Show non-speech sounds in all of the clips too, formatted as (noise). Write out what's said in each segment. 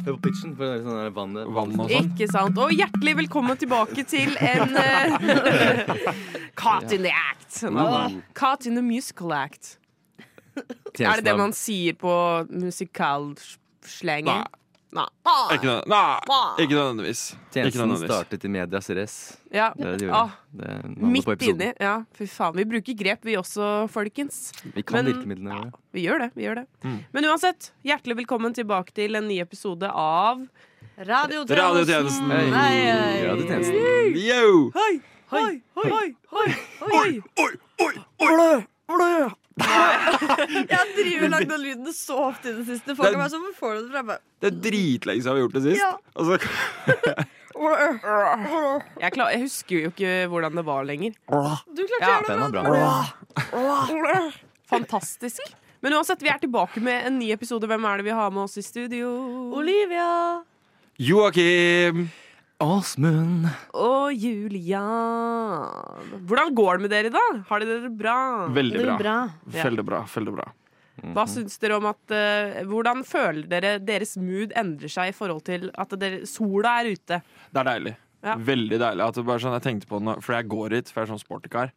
Hør på pitchen. For det er sånn der vannet. Vann og sånn. Ikke sant. Og hjertelig velkommen tilbake til en eh, (laughs) Caught in the act. Mm. Åh, Caught in the musical act. Er det det man sier på musikalslengen? Nei. Ikke, nød nei, ikke nødvendigvis. Ikke Tjenesten nødvendigvis. startet i medias race. Ja. Det, det gjorde Ah, den. det, er navnet på midt episoden. inni. Ja, fy faen. Vi bruker grep, vi også, folkens. Vi kan Men- virkemidlene våre. Vi gjør det. vi gjør det Mm. Men uansett, hjertelig velkommen tilbake til en ny episode av Radiotjenesten. Hei. Nei, ei. Radiotjenesten. Yo! Hoi, hoi, hoi, hoi, hoi! Oi, oi, oi! Jeg har drivet og lagd den lyden så ofte i det siste. Folk Den- er bare sånn, hvor får du det fra? Jeg bare, Det er dritlenge siden vi har gjort det sist. Ja. Og så Jeg, klar, jeg husker jo ikke hvordan det var lenger. Du klarte Ja, å Den gjøre var det! bra. Fantastisk. Men uansett, vi er tilbake med en ny episode. Hvem er det vi har med oss i studio? Olivia! Joakim! Åsmund. Og Julian. Hvordan går det med dere, da? Har dere det bra? Veldig bra. Ja. Veldig bra. Veldig bra. Hva syns dere om at eh, Hvordan føler dere deres mood endrer seg i forhold til at dere, sola er ute? Det er deilig. Ja. Veldig deilig. At det bare sånn, jeg tenkte på det nå, For jeg går hit, for jeg er sånn sportkar.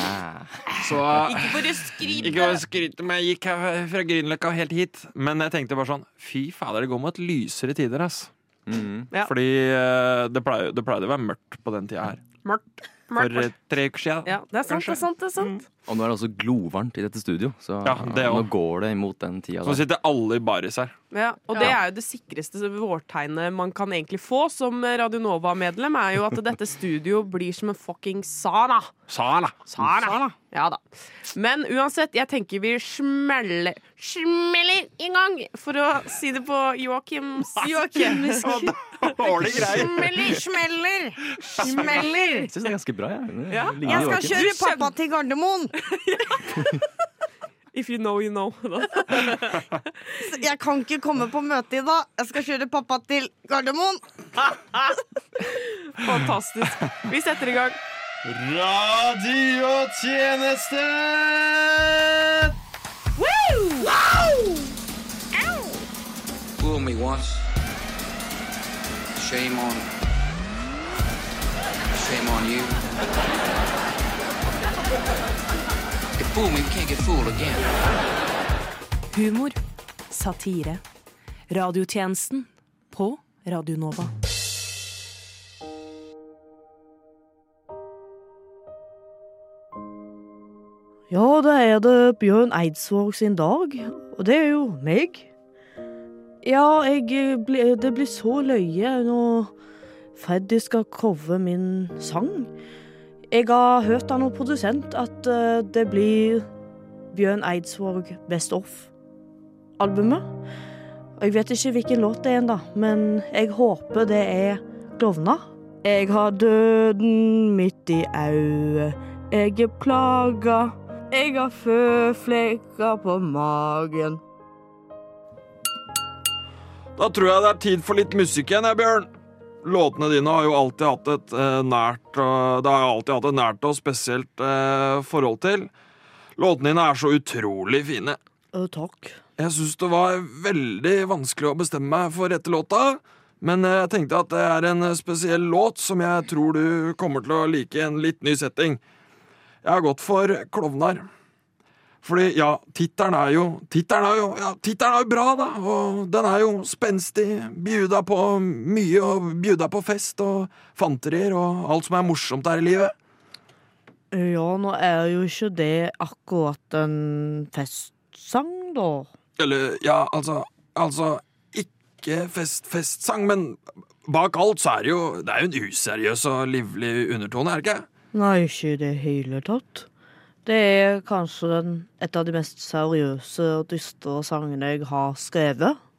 Ah. Så Ikke for å ikke skryte. for å skryte, men jeg gikk her fra Grünerløkka og helt hit. Men jeg tenkte bare sånn Fy fader, det går mot lysere tider, ass. Mhm. Ja. Fordi eh, det pleide, det pleide å være mørkt på den tida her. Mørkt. For eh, Mørkt. tre uker siden. Ja, det er sant, det er sant. det er sant Og nå er det også glovarmt i dette studio, så Ja, det nå også. går det imot den tida. Så Der. sitter alle i baris her. ja, Og det er jo det sikreste vårtegnet man kan egentlig få som Radionova-medlem, er jo at dette studio blir som en fucking sauna. Sala! Sara. Ja da. Men uansett, jeg tenker vi smeller Smeller i gang, for å si det på Joakims Joakimisk. Dårlig greie. Smeller, smeller, smeller. Jeg syns det er ganske bra, jeg. Det Ja. ligner Jeg jo skal ikke. kjøre pappa til Gardermoen! If you know, you know. (laughs) Så Jeg kan ikke komme på møte i dag. Jeg skal kjøre pappa til Gardermoen! Fantastisk. Vi setter i gang. Radiotjenesten! Fool me once. Shame on. Shame on you. If fool me, we can't get fooled again. Humor. Satire. Radiotjenesten på Radio Nova. Ja, det er det Bjørn Eidsvåg sin dag, og det er jo meg. Ja, jeg, eh, ble, det blir så løye når Freddy skal covre min sang. Jeg har hørt av noen produsent at eh, det blir Bjørn Eidsvåg Best Off-albumet. Og jeg vet ikke hvilken låt det er ennå, men jeg håper det er Klovna. Jeg har døden midt i auet, jeg er plaga. Jeg har føflekker på magen. Da tror jeg det er tid for litt musikk igjen, jeg, Bjørn. Låtene dine har jo alltid hatt et eh, nært og, Det har jeg alltid hatt et nært og spesielt eh, forhold til. Låtene dine er så utrolig fine. Å, takk. Jeg syns det var veldig vanskelig å bestemme meg for rette låta, men eh, jeg tenkte at det er en eh, spesiell låt som jeg tror du kommer til å like i en litt ny setting. Jeg har gått for Klovnar. Fordi, ja, tittelen er jo Tittelen er jo ja, tittelen er jo bra, da! Og den er jo spenstig. Bjuda på mye, og bjuda på fest og fanterier og alt som er morsomt her i livet. Ja, nå er jo ikke det akkurat en festsang, da. Eller, ja, altså Altså, ikke fest, festsang, men bak alt så er det jo Det er jo en useriøs og livlig undertone, er det ikke? Nei, ikke i det hele tatt. Det er kanskje den, et av de mest seriøse og dystre sangene jeg har skrevet. Men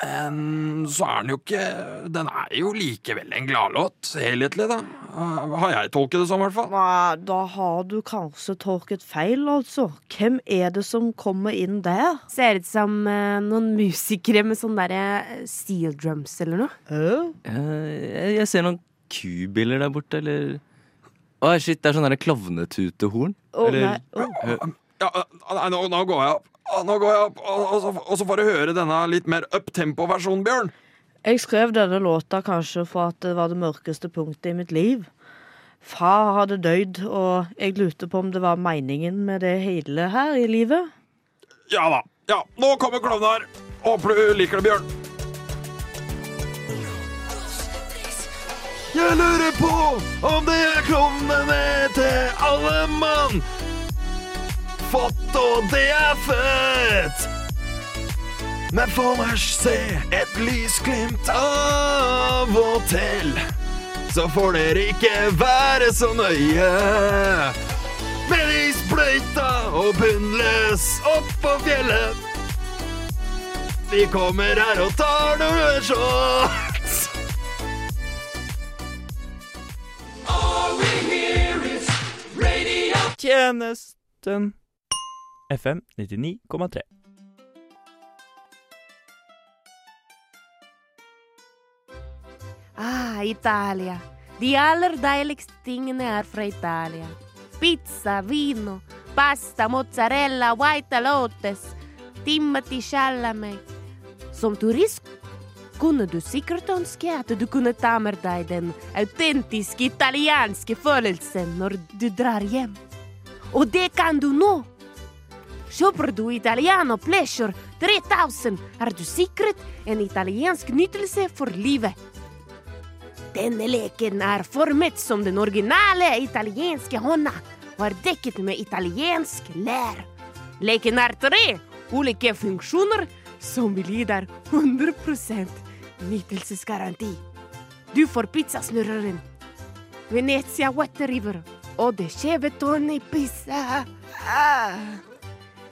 Mm, så er den jo ikke Den er jo likevel en gladlåt, helhetlig, da. Eh, Har jeg tolket det som, i hvert fall. Nei, da har du kanskje tolket feil, altså. Hvem er det som kommer inn der? Ser ut som eh, noen musikere med sånne derre eh, steel drums eller noe. Hæ? Eh, Jeg, jeg ser noen kubiller der borte, eller Å, shit, det er sånn der klovnetutehorn. Å, Eller- nei. Å, Ja, eh, nei, nå, nå går jeg opp. Ah, Nå går jeg opp, og, og, så, og så får du høre denne litt mer uptempo-versjonen, Bjørn. Jeg skrev denne låta kanskje for at det var det mørkeste punktet i mitt liv. Far hadde dødd, og jeg lurte på om det var meningen med det hele her i livet. Ja da. Ja, nå kommer klovnen her. Håper du liker det, Bjørn. Jeg lurer på om det er klovnene til alle (laughs) mann. Fått og det er fett. Men for meg se et lysglimt av og til. Så får dere ikke være så nøye. Med isbrøyta og bunnløs opp på fjellet. Vi kommer her og tar noen shots. Tjenesten. FM 99,3. Ah, Italia. De aller deiligste tingene er fra Italia. Pizza, vino, pasta, mozzarella, white lotus, Timothy Chalamet. Som turist kunne du sikkert ønske at du kunne ta med deg den autentiske italienske følelsen når du drar hjem. Og det kan du nå! Kjøper du Italiano Pleasure 3000, er du sikret en italiensk nytelse for livet. Denne leken er formet som den originale italienske hånda og er dekket med italiensk lær. Leken er tre ulike funksjoner som vil gi deg 100 nytelsesgaranti. Du får pizzasnurreren, Venezia Wet River og det skjeve tårnet i pizza. Ah.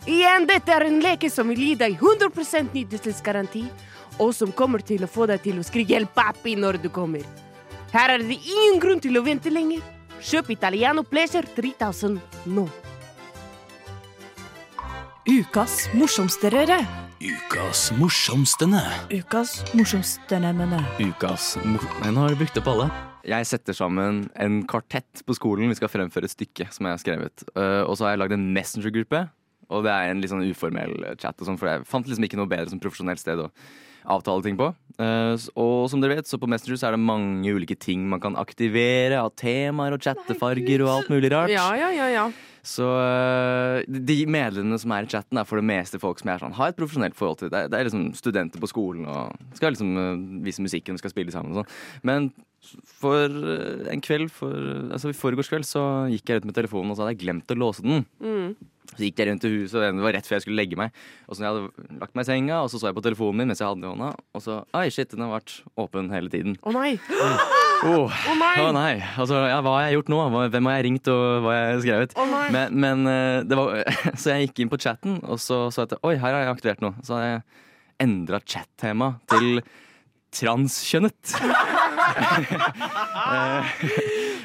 Igjen, dette er en leke som vil gi deg 100 nytelsesgaranti, og som kommer til å få deg til å skrike 'hjelp, pappi' når du kommer. Her er det ingen grunn til å vente lenger. Kjøp Italiano Pleasure 3000 nå. Ukas morsomsterere. Ukas morsomstene. Ukas morsomsteremene. Ukas mor... Nei, nå har du brukt opp alle. Jeg setter sammen en kvartett på skolen. Vi skal fremføre et stykke som jeg har skrevet. Eh, og så har jeg lagd en Messenger-gruppe. Og det er en litt sånn uformell eh, chat, og sånn, for jeg fant liksom ikke noe bedre som profesjonelt sted å avtale ting på. Eh, s- og som dere vet, så på Messenger så er det mange ulike ting man kan aktivere av temaer og chattefarger og alt mulig rart. Ja, ja, ja, ja. Så øh, de medlemmene som er i chatten, er for det meste folk som jeg er sånn, har et profesjonelt forhold til. Det er, det er liksom studenter på skolen og skal liksom øh, vise musikken og skal spille sammen og sånn. Men for øh, en kveld, for, øh, altså i forgårs kveld, så gikk jeg rundt med telefonen og så hadde jeg glemt å låse den. Så gikk jeg rundt i huset, og det var rett før jeg skulle legge meg. Og så når jeg hadde lagt meg i senga, og så så jeg på telefonen min mens jeg hadde den i hånda, og så Oi, shit, den har vært åpen hele tiden. Å nei. Oh. Å nei. Å nei, altså ja, hva har jeg gjort nå? Hva- Hvem har jeg ringt, og hva har jeg skrevet? nei. men, men eh, det var (laughs) Så jeg gikk inn på chatten, og så så jeg at Oi, her har jeg aktivert noe. Så hadde jeg endra chattema til transkjønnet. (laughs) Eh,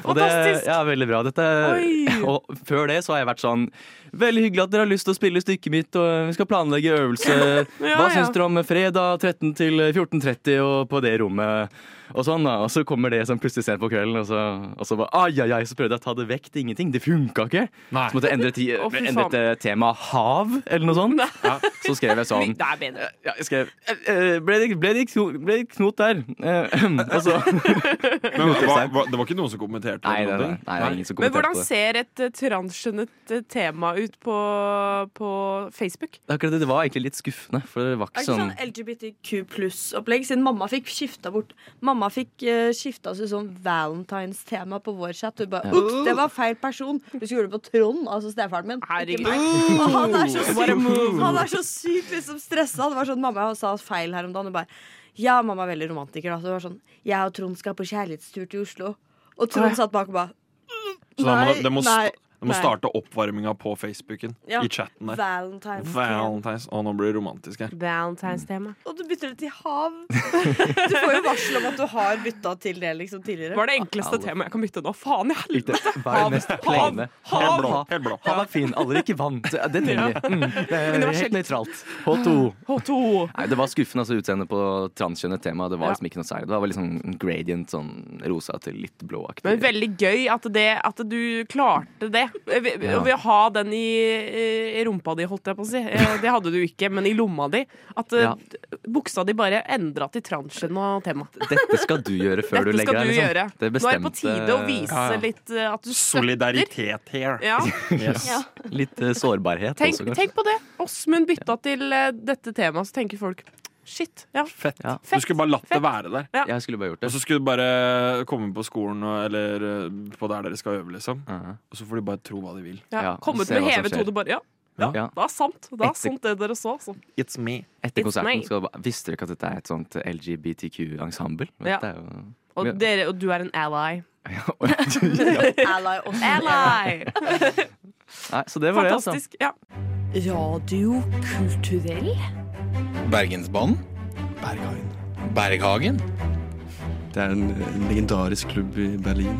og det Fantastisk. ja, veldig bra. Dette, Oi. (laughs) og før det så har jeg vært sånn Veldig hyggelig at dere har lyst til å spille stykket mitt, og vi skal planlegge øvelse. (laughs) Ja, Hva ja. syns dere om fredag 13 til 14.30 og på det rommet? Og sånn da, og så kommer det sånn plutselig sent på kvelden, og så, og så bare ai, ai, ai, så prøvde jeg å ta det vekk til ingenting. Det funka ikke. Nei. Så måtte jeg endre, ti, Å, fy endre til temaet hav, eller noe sånt. Så skrev jeg (laughs) sånn Det er bedre. ja, jeg skrev eh, eh, Ble det, ble det, kno, ble det knot der? Eh, (clears throat) og så Men hva, hva, hva, det var ikke noen som kommenterte? Nei, det, eller nei, noen ting? det er ingen som Men hvordan ser kommenterte det. et eh, transskjønnet eh, tema ut på, på Facebook? Det er Akkurat det, det var egentlig litt skuffende, for det var ikke Er det ikke sånn sånn LGBTQ pluss-opplegg? Siden mamma fikk skifta bort Mamma fikk uh, skifta til sånn valentines-tema på vår chat. Hun bare Ja. Ops, det var feil person! Du skulle gjøre det på Trond, altså stefaren min. Herregud. Ikke meg. Og han er så What a sykt move. Han er så sykt liksom stressa. Det var sånn mamma sa feil her om dagen. Hun bare Ja, mamma er veldig romantiker, da. Så det var sånn Jeg og Trond skal på kjærlighetstur til Oslo. Og Trond satt bak og bare Så da må, Nei, det må, nei, sta- det må nei. starte oppvarminga på Facebooken. Ja. I chatten der. Valentine's. Valentines. Å, nå blir det romantisk her. Valentine's-tema. Og du bytter det til hav. (laughs) Du får jo varsel om at du har bytta til det liksom tidligere. Var det enkleste temaet jeg kan bytte nå? Faen i helvete! Hva er det mest plaine? Helt blå. Helt blå. Hav er fin, aldri ikke vann. Det trenger vi. Mm, det er helt nøytralt. H2. H2. Nei, det var skuffende altså, utseendet på transkjønnet tema. Det Ja. var liksom ikke noe særlig. Det var liksom en gradient, sånn rosa til sånn litt blåaktig. Men veldig gøy at, det, at du klarte det. Ved, Ja. Eh, ved å ha den i, eh, i rumpa di, holdt jeg på å si. Eh, Det hadde du ikke, men i lomma di. At eh, Ja. buksa di bare endra til transjen og tema. Dette skal du gjøre før du Dette legger skal deg. du liksom. gjøre. Det Nå er det på bestemte- tide å vise Ja, ja. litt eh, at du støtter. Solidaritet here. (laughs) Ja. Yes. Ja. Litt eh, sårbarhet Tenk, også, kanskje. tenk på det. Åsmund bytta til eh, dette temaet, så tenker folk shit. Ja, Fett. Ja. Du skulle bare latt det være der. Ja. Jeg skulle bare gjort det. Og så skulle du bare komme på skolen og, eller eh, på der dere skal øve, liksom. Uh-huh. Og så får de bare tro hva de vil. ja. Ja, Komme se ut med hva som hevet skjer. hode, bare. Ja, Ja. det er sant. Det Etter- er sant, det dere så. altså. Så. It's me. Etter It's konserten me. skal du bare Visste dere ikke at dette er et sånt LGBTQ-ensemble? Ja. Det er jo (laughs) Og, Ja. dere, og du er en ally. (laughs) Ally også. Ally! Nei, så det altså. var det, Fantastisk. Ja. Radiokulturell? Bergensbanen. Berghagen. Det er en en legendarisk klubb i Berlin.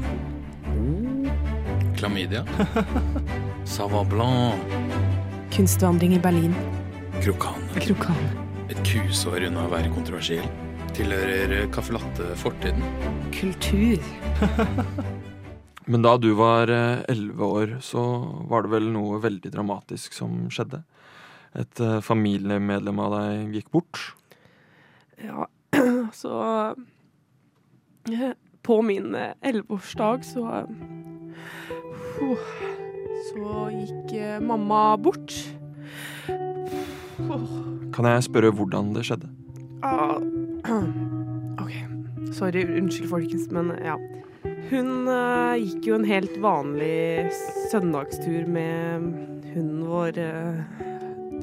Klamydia. Savant Blanc. Kunstvandring i Berlin. Krokan. Krokan. Et kusår unna å være kontroversiell. Tilhører caffè latte-fortiden. Kultur. Men da du var eh, elleve år, så var det vel noe veldig dramatisk som skjedde. Et eh, familiemedlem av deg gikk bort. Ja, (clears throat) så (clears throat) eh, På min eh, elleveårsdag så eh, oh, Så gikk eh, mamma bort. Åh, Kan jeg spørre hvordan det skjedde? ah, (clears throat) OK. Sorry, unnskyld folkens, men ja. Hun eh, gikk jo en helt vanlig søndagstur med hunden vår eh,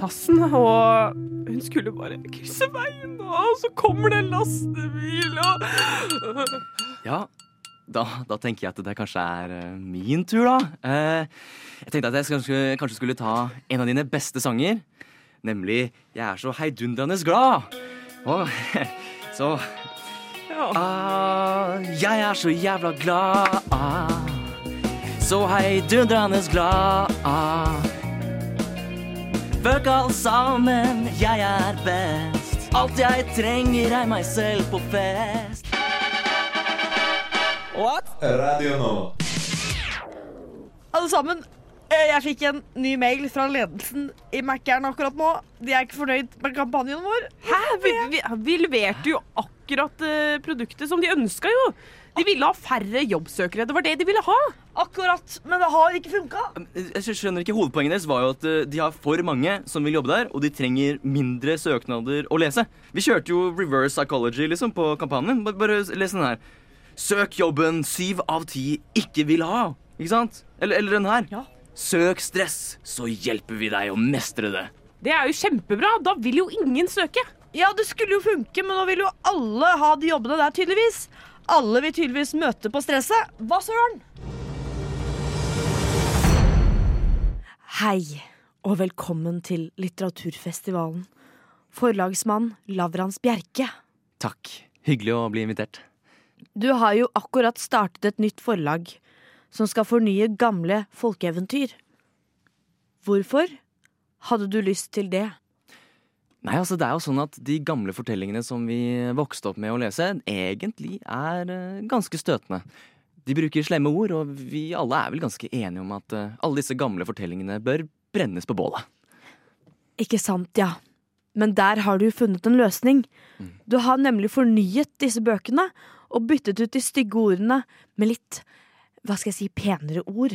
Tassen, og hun skulle bare krysse veien, og så kommer det en lastebil, og (laughs) altså. Ja, da, da tenker jeg at det kanskje er eh, min tur, da. Eh, jeg tenkte at jeg kanskje, kanskje skulle ta en av dine beste sanger. Nemlig 'Jeg er så heidundrende glad'. Og (laughs) så Ja. ah, Jeg er så jævla glad. Ah, så heidundrende glad. Ah. Fuck alle sammen, jeg er best. Alt jeg trenger er meg selv på fest. Alle sammen, eh, jeg fikk en ny mail fra ledelsen i Mækkern akkurat nå. De er ikke fornøyd med kampanjen vår. Hæ? Eh, Vi, vi, vi leverte jo akkurat eh, produktet som de ønska, jo. De ville ha færre jobbsøkere. Det var det de ville ha. Akkurat, men det har ikke funka. Jeg skj- skjønner ikke Hovedpoenget deres var jo at eh, de har for mange som vil jobbe der, og de trenger mindre søknader å lese. Vi kjørte jo reverse psychology liksom på kampanjen. Bare, bare les den her. Søk jobben syv av ti ikke vil ha. Ikke sant? Eller, eller den her. Søk stress, så hjelper vi deg å mestre det. Det er jo kjempebra. Da vil jo ingen søke. Ja, det skulle jo funke, men nå vil jo alle ha de jobbene der, tydeligvis. Alle vil tydeligvis møte på stresset. Hva søren? Hei, og velkommen til litteraturfestivalen. Forlagsmann Lavrans Bjerke. Takk. Hyggelig å bli invitert. Du har jo akkurat startet et nytt forlag som skal fornye gamle folkeeventyr. Hvorfor hadde du lyst til det? Nei, altså det er jo sånn at De gamle fortellingene som vi vokste opp med å lese, egentlig er eh, ganske støtende. De bruker slemme ord, og vi alle er vel ganske enige om at eh, alle disse gamle fortellingene bør brennes på bålet. Ikke sant, ja. Men der har du funnet en løsning. Du har nemlig fornyet disse bøkene og byttet ut de stygge ordene med litt, hva skal jeg si, penere ord.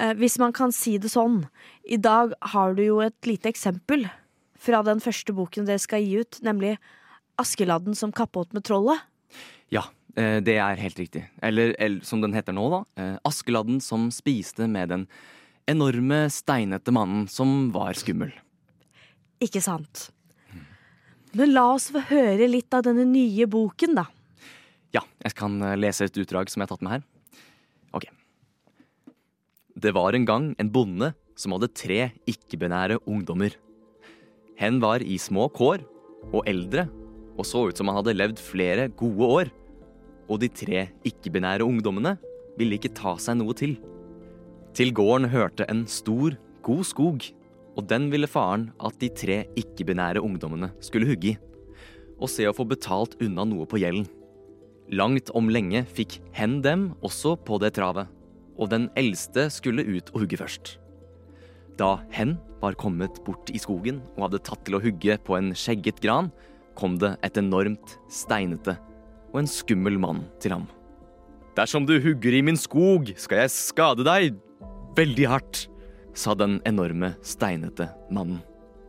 Eh, hvis man kan si det sånn. I dag har du jo et lite eksempel fra den første boken dere skal gi ut, nemlig Askeladden som kappåt med trollet. Ja, eh, det er helt riktig. Eller, eller som den heter nå, da. eh, Askeladden som spiste med den enorme, steinete mannen som var skummel. Ikke sant? Men la oss få høre litt av denne nye boken, da. Ja, jeg kan eh, lese et utdrag som jeg har tatt med her. Ok. Det var en gang en bonde som hadde tre ikke-binære ungdommer. Hen var i små kår og eldre og så ut som han hadde levd flere gode år. Og de tre ikke-binære ungdommene ville ikke ta seg noe til. Til gården hørte en stor, god skog, og den ville faren at de tre ikke-binære ungdommene skulle hugge i, og se å få betalt unna noe på gjelden. Langt om lenge fikk hen dem også på det travet, og den eldste skulle ut og hugge først. Da hen var kommet bort i skogen og hadde tatt til å hugge på en skjegget gran, kom det et enormt steinete og en skummel mann til ham. Dersom du hugger i min skog, skal jeg skade deg veldig hardt, sa den enorme steinete mannen.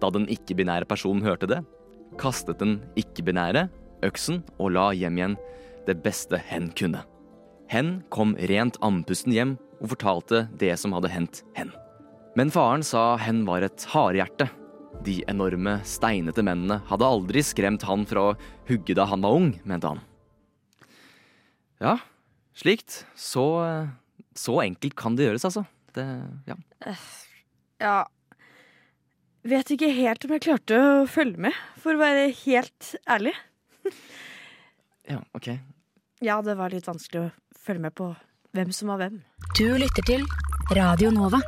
Da den ikke-binære personen hørte det, kastet den ikke-binære øksen og la hjem igjen det beste hen kunne. Hen kom rent andpusten hjem og fortalte det som hadde hendt hen. Men faren sa hen var et hardhjerte. De enorme, steinete mennene hadde aldri skremt han fra å hugge da han var ung, mente han. Ja, slikt. Så, så enkelt kan det gjøres, altså. Det, ja. Ja Vet ikke helt om jeg klarte å følge med, for å være helt ærlig. ja, ok. Ja, det var litt vanskelig å følge med på hvem som var hvem. Du lytter til Radio Nova.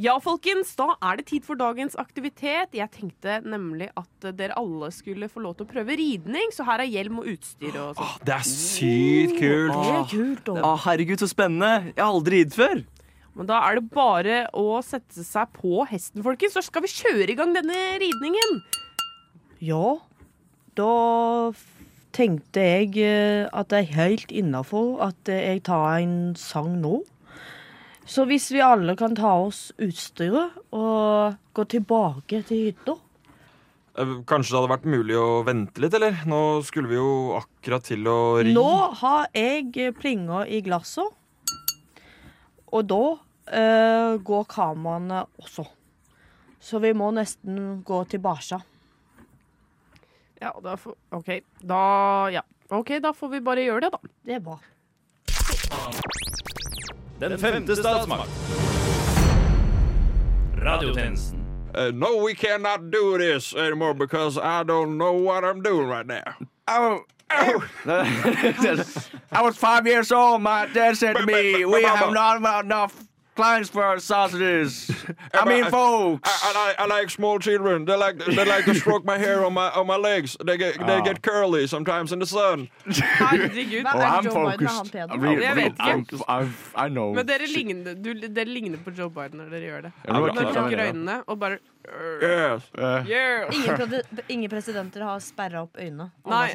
Ja, folkens, da er det tid for dagens aktivitet. Jeg tenkte nemlig at dere alle skulle få lov til å prøve ridning, så her er hjelm og utstyr og sånn. Ah, Det er sykt kult! Å, herregud, så spennende! Jeg har aldri ridd før. Men da er det bare å sette seg på hesten, folkens, så skal vi kjøre i gang denne ridningen. Ja, da f- tenkte jeg eh, at det er helt innafor at eh, jeg tar en sang nå. Så hvis vi alle kan ta oss utstyret og gå tilbake til hytta Eh, Kanskje det hadde vært mulig å vente litt, eller? Nå skulle vi jo akkurat til å ri. Nå har jeg eh, plinga i glasset, og da eh, går kameraene også. Så vi må nesten gå tilbake. Ja, da får OK, da Ja. OK, da får vi bare gjøre det, da. Det er bra. Den femte statsmakt. Radiotjenesten. Eh, no, we cannot do this anymore because I don't know what I'm doing right now. Oh, oh. (laughs) I was five years old. My dad said to me, "We have not enough clients for (laughs) sausages." I mean, folks. I, I, like- I like small children. They like they like to stroke my hair on my on my legs. They get they get curly sometimes in the sun. Herregud. Oh, I'm focused. I, really, Jeg vet I'm, ikke. I'm, I know. Men dere ligner, du, dere ligner på Joe Biden når dere gjør det. Ja, det var Når dere klart. lukker øynene og bare Yes. (laughs) Yeah. Ingen, prode- ingen presidenter har sperra opp øynene. Nei.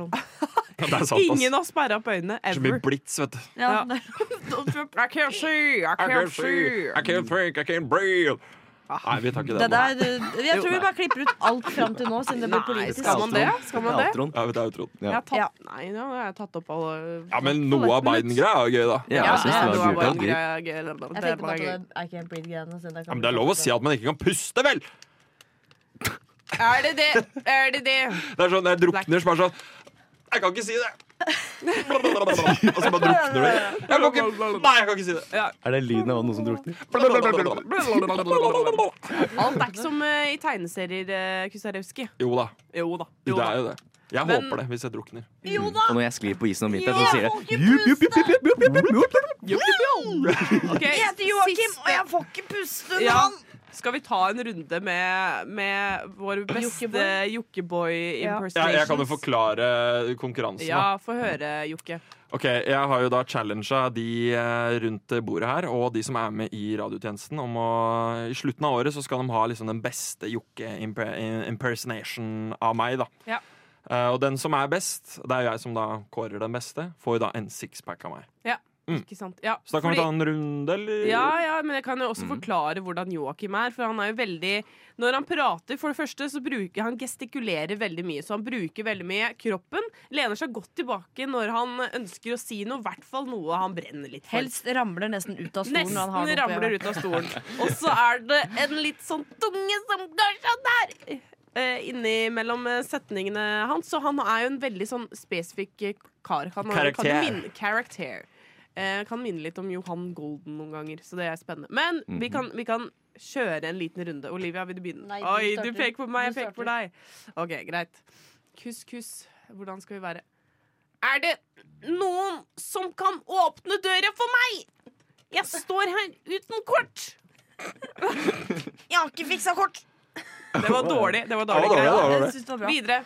Det er sant, Ingen har sperra opp øynene Så mye ever. blits, vet du. Ja, Ja. I can't see, I I can't can't see, see. I can't think, I can't breathe. Ah. Nei, vi tar ikke Det den. der, eh, jeg tror vi bare klipper ut alt fram til nå, siden det blir Nei, politisk. skal man det? Skal man det? Outroen. Ja, vi tar utroen. Jeg Ja. har tatt, nei, nå har jeg tatt opp alle Ja, men noe av Biden-greia er jo gøy, da. Ja, Ja, jeg synes det det var var bare en gøy. greie- greie- Jeg det tenkte var bare gøy. på det I can't breathe-greiene. siden jeg kan Ja, men det er lov å si at man ikke kan puste, vel! Er det det? Er det det? Det er sånn, Jeg drukner så bare sånn Jeg kan ikke si (laughs) det! Og så bare drukner du. Jeg kan ikke, nei, jeg kan ikke si det. Er det lyden av noen som drukner? Alt er ikke som eh, i tegneserier, uh, Kusarewski. Jo da. Jo da. Det Jo da. er jo det. Jeg Men- håper det, hvis jeg drukner. Jo da! Og når jeg sklir på isen om vinteren, så sier jeg Ok, Jeg heter Joakim, siste- og jeg får ikke puste nå! Ja. Skal vi ta en runde med, med vår beste Jokkeboy? Jokkeboy Ja. Jeg, jeg kan jo impersonation? forklare konkurransen. da. Ja, få høre, Jokke. Ok, Jeg har jo da challenga de eh, rundt bordet her og de som er med i radiotjenesten. om å, I slutten av året så skal de ha liksom den beste jokke-impersonation av meg. da. Ja. Eh, og den som er best, det er jo jeg som da kårer den beste, får jo da en sixpack av meg. Mm. Ikke sant? Ja, Så da kan fordi- vi ta en runde, eller? Ja, ja, men jeg kan jo også forklare hvordan Joakim er. For han er jo veldig Når han prater, for det første, så bruker han gestikulerer veldig mye. Så han bruker veldig mye kroppen. Lener seg godt tilbake når han ønsker å si noe, i hvert fall noe han brenner litt for. Helst ramler nesten ut av stolen. når han har Nesten den oppi ramler ut øynene. av stolen. Og så er det en litt sånn tunge som går sånn der! eh, Innimellom eh, setningene hans. Så han er jo en veldig sånn spesifikk eh, kar. Han har- Karakter. Kan minne, karakter. Eh, kan minne litt om Johan Golden noen ganger, så det er spennende. Men vi, kan, Mhm. vi kan kjøre en liten runde. Olivia, vil du begynne? Nei, du Oi, du starter. peker på meg, jeg Du peker på deg. OK, greit. Kuss, kuss. Hvordan skal vi være? Er det noen som kan åpne døra for meg? Jeg står her uten kort. (laughs) Jeg har ikke fiksa kort! Det var dårlig. Det var Ja, dårlig. det var dårlig, Greit. det var Jeg synes det var bra. Videre.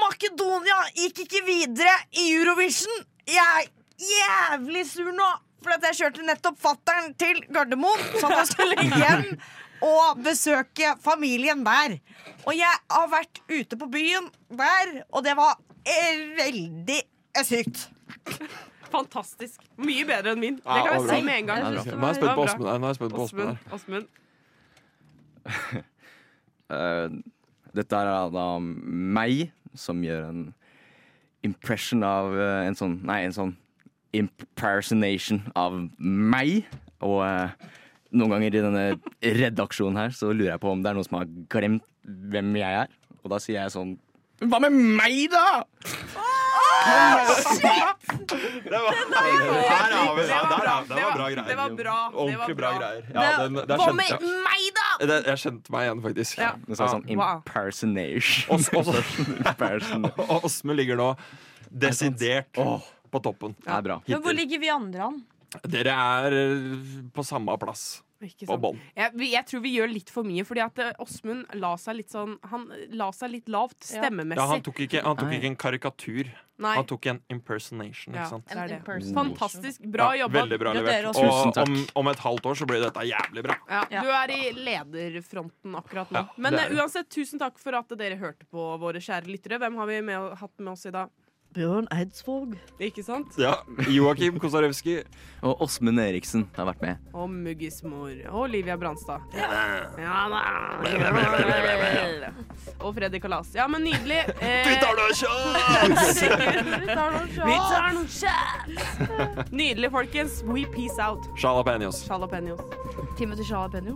Makedonia gikk ikke videre i Eurovision! Jeg er jævlig sur nå! For at jeg kjørte nettopp fattern til Gardermoen, så han (laughs) skulle hjem og besøke familien der. Og jeg har vært ute på byen der, og det var eh, veldig eh, sykt. Fantastisk. Mye bedre enn min. Det Ja, det kan jeg var si bra. med en gang. Ja, det var Jeg synes bra. Nå er jeg spent på det var Åsmund her, nå er jeg spent på Åsmund Åsmund. (laughs) Åsmund. Eh, dette er da meg som gjør en impression av eh, en sånn Nei, en sånn impersonation av meg. Og eh, noen ganger i denne redaksjonen her så lurer jeg på om det er noen som har glemt hvem jeg er. Og da sier jeg sånn Hva med meg, da?! Det var, der har vi det. Der er- Det var bra greier. Det var bra. Det var Ordentlig bra greier. Det- Ja, den, der Hva kjente med jeg- meg, da?! Det- Jeg kjente meg igjen, faktisk. Ja. Det er sånn impersonation. Ås- Ås- Og Åsmund ligger nå desidert på toppen. Det er bra. Men hvor ligger vi andre an? Dere er eh, på samme plass. Ikke På sant. bånn. Liksom, Jeg, vi- jeg tror vi gjør litt for mye, fordi at eh, Åsmund la seg litt sånn Han la seg litt lavt stemmemessig. Ja, han tok ikke, han tok ikke en karikatur. Nei. Han tok en impersonation. Ja, Ikke sant? det er det. Fantastisk. Bra Ja, jobba. Veldig bra Gratulerer, levert. Åsmund. Og om, om et halvt år så blir dette jævlig bra. Ja, du er i lederfronten akkurat nå. Ja, Men det er eh, det. uansett, tusen takk for at dere hørte på våre kjære lyttere. Hvem har vi med, hatt med oss i dag? Bjørn Eidsvåg. Ikke sant? Ja, Joakim Kosarewski. (laughs) Og Åsmund Eriksen har vært med. Og Muggis mor. Og Olivia Branstad. Ja, da. Og Freddy Kalas. Ja, men nydelig. (laughs) Vi tar noen shots! (laughs) Vi tar noen shots! Nydelig, folkens. We peace out. Jalapeños. Jalapeños. Timothy Jalapeño.